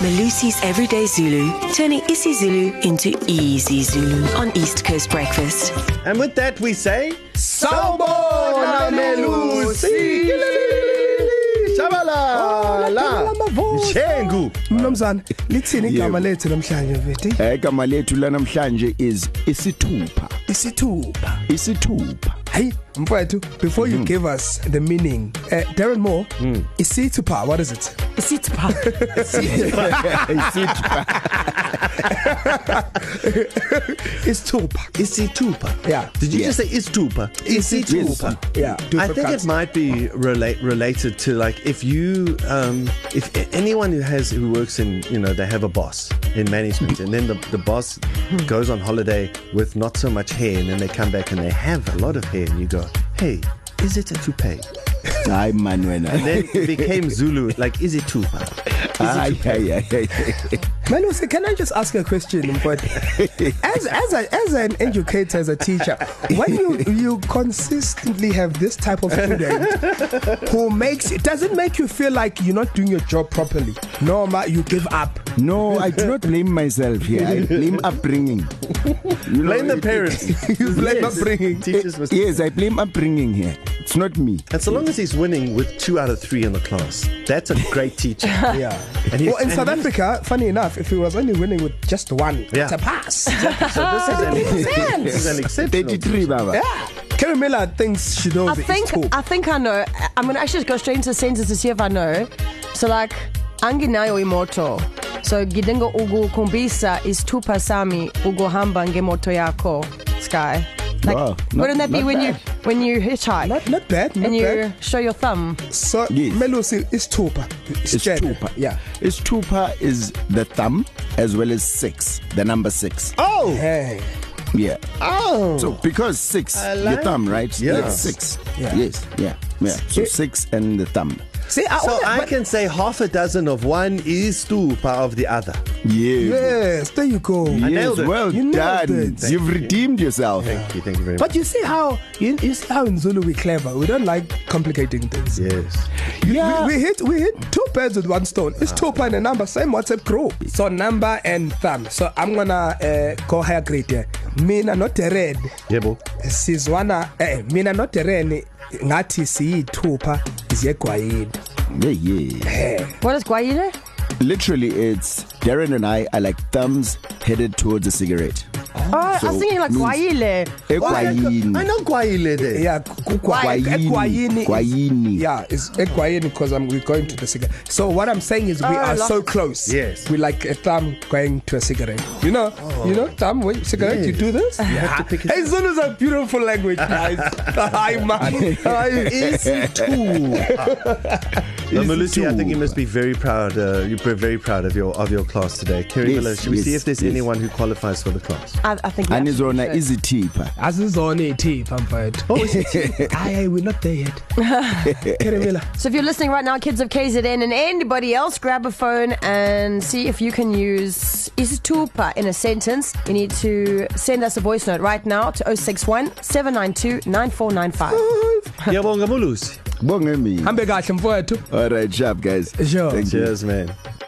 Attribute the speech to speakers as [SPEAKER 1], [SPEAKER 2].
[SPEAKER 1] Malusi's Everyday Zulu, turning isiZulu into easy Zulu on East Coast Breakfast.
[SPEAKER 2] And with that, we say,
[SPEAKER 3] Sawubona, Melusi. Oh,
[SPEAKER 2] Shabalala, Shengu.
[SPEAKER 3] Mnumzane, lithini igama
[SPEAKER 4] Yebo.
[SPEAKER 3] lethu namhlanje vethi?
[SPEAKER 4] Egama lethu lanamhlanje is isithupha.
[SPEAKER 3] Isithupha.
[SPEAKER 4] Isithupha.
[SPEAKER 3] Hey, mfowethu, before you give us the meaning, uh, Darren Moore, isithupha, what is it?
[SPEAKER 4] Isithupha.
[SPEAKER 3] Isithupha.
[SPEAKER 2] Isitupa.
[SPEAKER 3] Yeah.
[SPEAKER 2] Did you
[SPEAKER 4] Yeah.
[SPEAKER 2] just say Istupa?
[SPEAKER 3] Isithupha. Yeah.
[SPEAKER 2] I
[SPEAKER 3] different
[SPEAKER 2] think
[SPEAKER 3] cuts.
[SPEAKER 2] it might be relate, related to like if you um, if a- anyone who has who works in you know they have a boss in management and then the, the boss goes on holiday with not so much hair and then they come back and they have a lot of hair and you go hey is it a toupee
[SPEAKER 4] Hayi man wena.
[SPEAKER 2] then it became Zulu like is it tupa
[SPEAKER 4] Hayi hayi hayi.
[SPEAKER 3] Melusi, can I just ask you a question, mfowethu? as as a, as an educator, as a teacher, when you you consistently have this type of student who makes it doesn't make you feel like you're not doing your job properly. No, ma, you give up.
[SPEAKER 4] No, I do not blame myself here. I blame upbringing. You know,
[SPEAKER 2] blame the
[SPEAKER 4] it-
[SPEAKER 2] parents
[SPEAKER 3] You blame upbringing.
[SPEAKER 2] teachers must
[SPEAKER 4] Yes, I blame upbringing here. It's not me.
[SPEAKER 2] And so long as he's winning with two out of three in the class, that's a great teacher.
[SPEAKER 3] Yeah.
[SPEAKER 2] And he's-
[SPEAKER 3] well, in
[SPEAKER 2] and
[SPEAKER 3] South
[SPEAKER 2] he's-
[SPEAKER 3] Africa, funny enough, if he was only winning with just one,
[SPEAKER 2] Yeah.
[SPEAKER 3] it's a pass.
[SPEAKER 2] So this is an, this is an exceptional. Eh?
[SPEAKER 4] 33 baba. Yeah.
[SPEAKER 3] Kerry Miller thinks she knows
[SPEAKER 5] I
[SPEAKER 3] the
[SPEAKER 5] think
[SPEAKER 3] East Hope.
[SPEAKER 5] I think I know. I- I'm gonna actually just go straight into the sentence to see if I know. So like, anginayo imoto. So gidengo ugu kumbisa is tupa sami ugohamba ngemoto yako. Sky. Like,
[SPEAKER 4] Wow, not-
[SPEAKER 5] wouldn't that be
[SPEAKER 4] not
[SPEAKER 5] when you
[SPEAKER 4] bad.
[SPEAKER 5] when you hitchhike
[SPEAKER 3] Not, not bad, not
[SPEAKER 5] and you
[SPEAKER 3] bad.
[SPEAKER 5] show your thumb?
[SPEAKER 3] So, yes.
[SPEAKER 4] Yes.
[SPEAKER 3] Melusi is Tupa.
[SPEAKER 4] Isithupha.
[SPEAKER 3] Yeah.
[SPEAKER 4] Isithupha is the thumb as well as 6, the number 6.
[SPEAKER 2] Oh!
[SPEAKER 3] Hey.
[SPEAKER 4] Yeah.
[SPEAKER 2] Oh!
[SPEAKER 4] So because six,
[SPEAKER 2] I
[SPEAKER 4] like your
[SPEAKER 2] like
[SPEAKER 4] thumb, right?
[SPEAKER 2] Yeah.
[SPEAKER 4] That's six.
[SPEAKER 3] Yeah.
[SPEAKER 4] Yes. Yeah. Yeah. So six and the thumb.
[SPEAKER 3] See, I,
[SPEAKER 2] So
[SPEAKER 3] wanna-
[SPEAKER 2] I
[SPEAKER 3] but-
[SPEAKER 2] can say half a dozen of one is two part of the other.
[SPEAKER 4] Yeah.
[SPEAKER 3] Yes, there you go. Yeah.
[SPEAKER 2] nailed
[SPEAKER 4] Yes.
[SPEAKER 2] it.
[SPEAKER 4] Well
[SPEAKER 3] You nailed
[SPEAKER 4] done.
[SPEAKER 3] it.
[SPEAKER 4] You've redeemed yourself.
[SPEAKER 2] Thank you, thank you very much.
[SPEAKER 3] But you see how you, you see how in Zulu we clever. We don't like complicating things.
[SPEAKER 2] Yes.
[SPEAKER 4] Yeah.
[SPEAKER 3] We, we hit we hit two birds with one stone. It's two and a number, same WhatsApp group. So number and thumb. So I'm gonna uh, go higher grade here. Mina not the red.
[SPEAKER 2] Yebo.
[SPEAKER 3] Sizwana eh mina not the red. Ngathi siyithupha ziyegwayini.
[SPEAKER 4] Yeah. yeah.
[SPEAKER 5] What is guayine?
[SPEAKER 4] Literally, it's Darren and I are like thumbs headed towards a cigarette.
[SPEAKER 5] Oh, so I
[SPEAKER 4] So
[SPEAKER 5] was thinking like
[SPEAKER 4] means-
[SPEAKER 5] guayile.
[SPEAKER 4] Ekwayini.
[SPEAKER 2] I know Guayile there.
[SPEAKER 3] Yeah,
[SPEAKER 4] Guayini.
[SPEAKER 3] egwayini.
[SPEAKER 4] Guayini.
[SPEAKER 3] Yeah, it's egwayini because I'm we're going to the cigarette. So what I'm saying is we
[SPEAKER 5] Oh,
[SPEAKER 3] are
[SPEAKER 5] lost
[SPEAKER 3] so
[SPEAKER 5] it.
[SPEAKER 3] close.
[SPEAKER 2] Yes.
[SPEAKER 3] we like a thumb going to a cigarette. You know, oh. you know, thumb when cigarette yes. you do this.
[SPEAKER 2] have to pick it
[SPEAKER 3] Hey, Zulu is a beautiful language, guys. Hi, man. Hi.
[SPEAKER 2] Easy two. No,
[SPEAKER 4] Easy
[SPEAKER 2] Malusi, I
[SPEAKER 4] two.
[SPEAKER 2] think you must be very proud. Uh, you're very proud of your of your class today. Kerry yes,
[SPEAKER 4] Yes,
[SPEAKER 2] Miller, should we
[SPEAKER 4] yes,
[SPEAKER 2] see if there's yes.
[SPEAKER 4] yes.
[SPEAKER 2] anyone who qualifies for the class?
[SPEAKER 5] I, I think. we
[SPEAKER 4] And
[SPEAKER 5] actually
[SPEAKER 4] is on a
[SPEAKER 5] should.
[SPEAKER 4] easy tipper.
[SPEAKER 3] Asizona ithi pamphlet. Oh, aye, aye, we're not there yet. Keremela.
[SPEAKER 5] So if you're listening right now, kids of KZN and anybody else, grab a phone and see if you can use isitupa in a sentence. You need to send us a voice note right now to 061 792 9495.
[SPEAKER 2] Yabonga Malusi.
[SPEAKER 4] Bonge me.
[SPEAKER 3] Hambe kahle mfowethu.
[SPEAKER 4] All right, sharp guys.
[SPEAKER 3] Sure.
[SPEAKER 4] Thank you.
[SPEAKER 2] Cheers, man.